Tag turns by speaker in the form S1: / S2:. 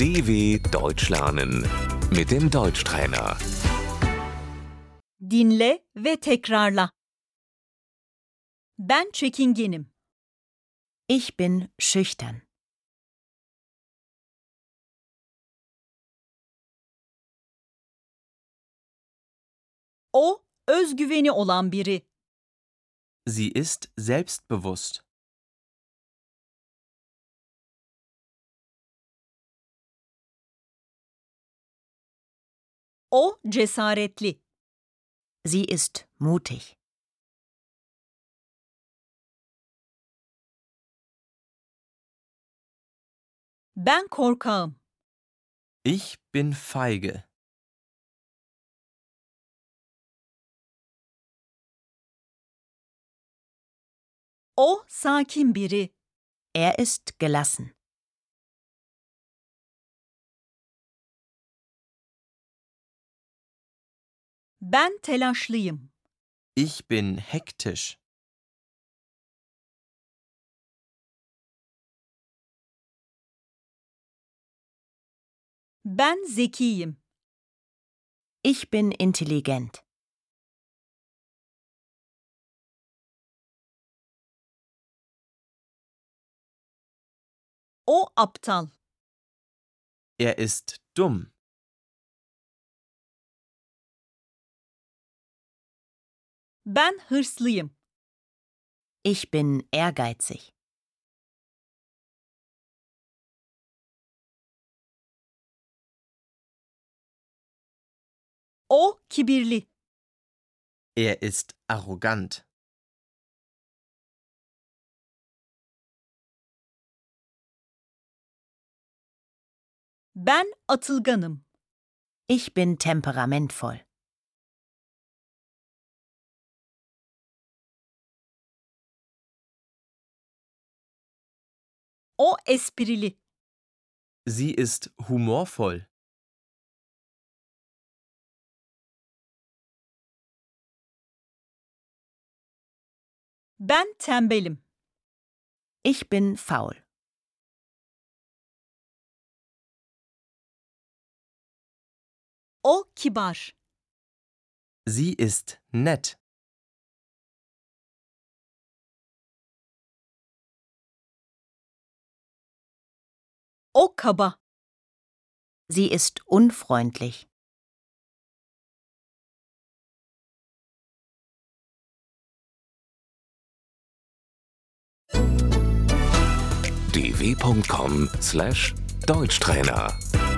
S1: DW Deutsch lernen mit dem Deutschtrainer.
S2: Dinle ve tekrarla. Ben çekingenim.
S3: Ich bin schüchtern.
S2: O özgüveni olan biri.
S4: Sie ist selbstbewusst.
S2: O cesaretli.
S3: Sie ist mutig.
S2: Ben korkağım.
S4: Ich bin feige.
S2: O sakin biri.
S3: Er ist gelassen.
S2: Ben telaşlıyım.
S4: Ich bin hektisch.
S2: Ben zekiyim.
S3: Ich bin intelligent.
S2: O aptal.
S4: Er ist dumm.
S2: Ben hırslıyım.
S3: Ich bin ehrgeizig.
S2: O kibirli.
S4: Er ist arrogant.
S2: Ben atılganım.
S3: Ich bin temperamentvoll.
S2: O esprili.
S4: Sie ist humorvoll.
S2: Ben tembelim.
S3: Ich bin faul.
S2: O kibar.
S4: Sie ist nett.
S2: O kaba.
S3: Sie ist unfreundlich.
S1: dw.com/deutschtrainer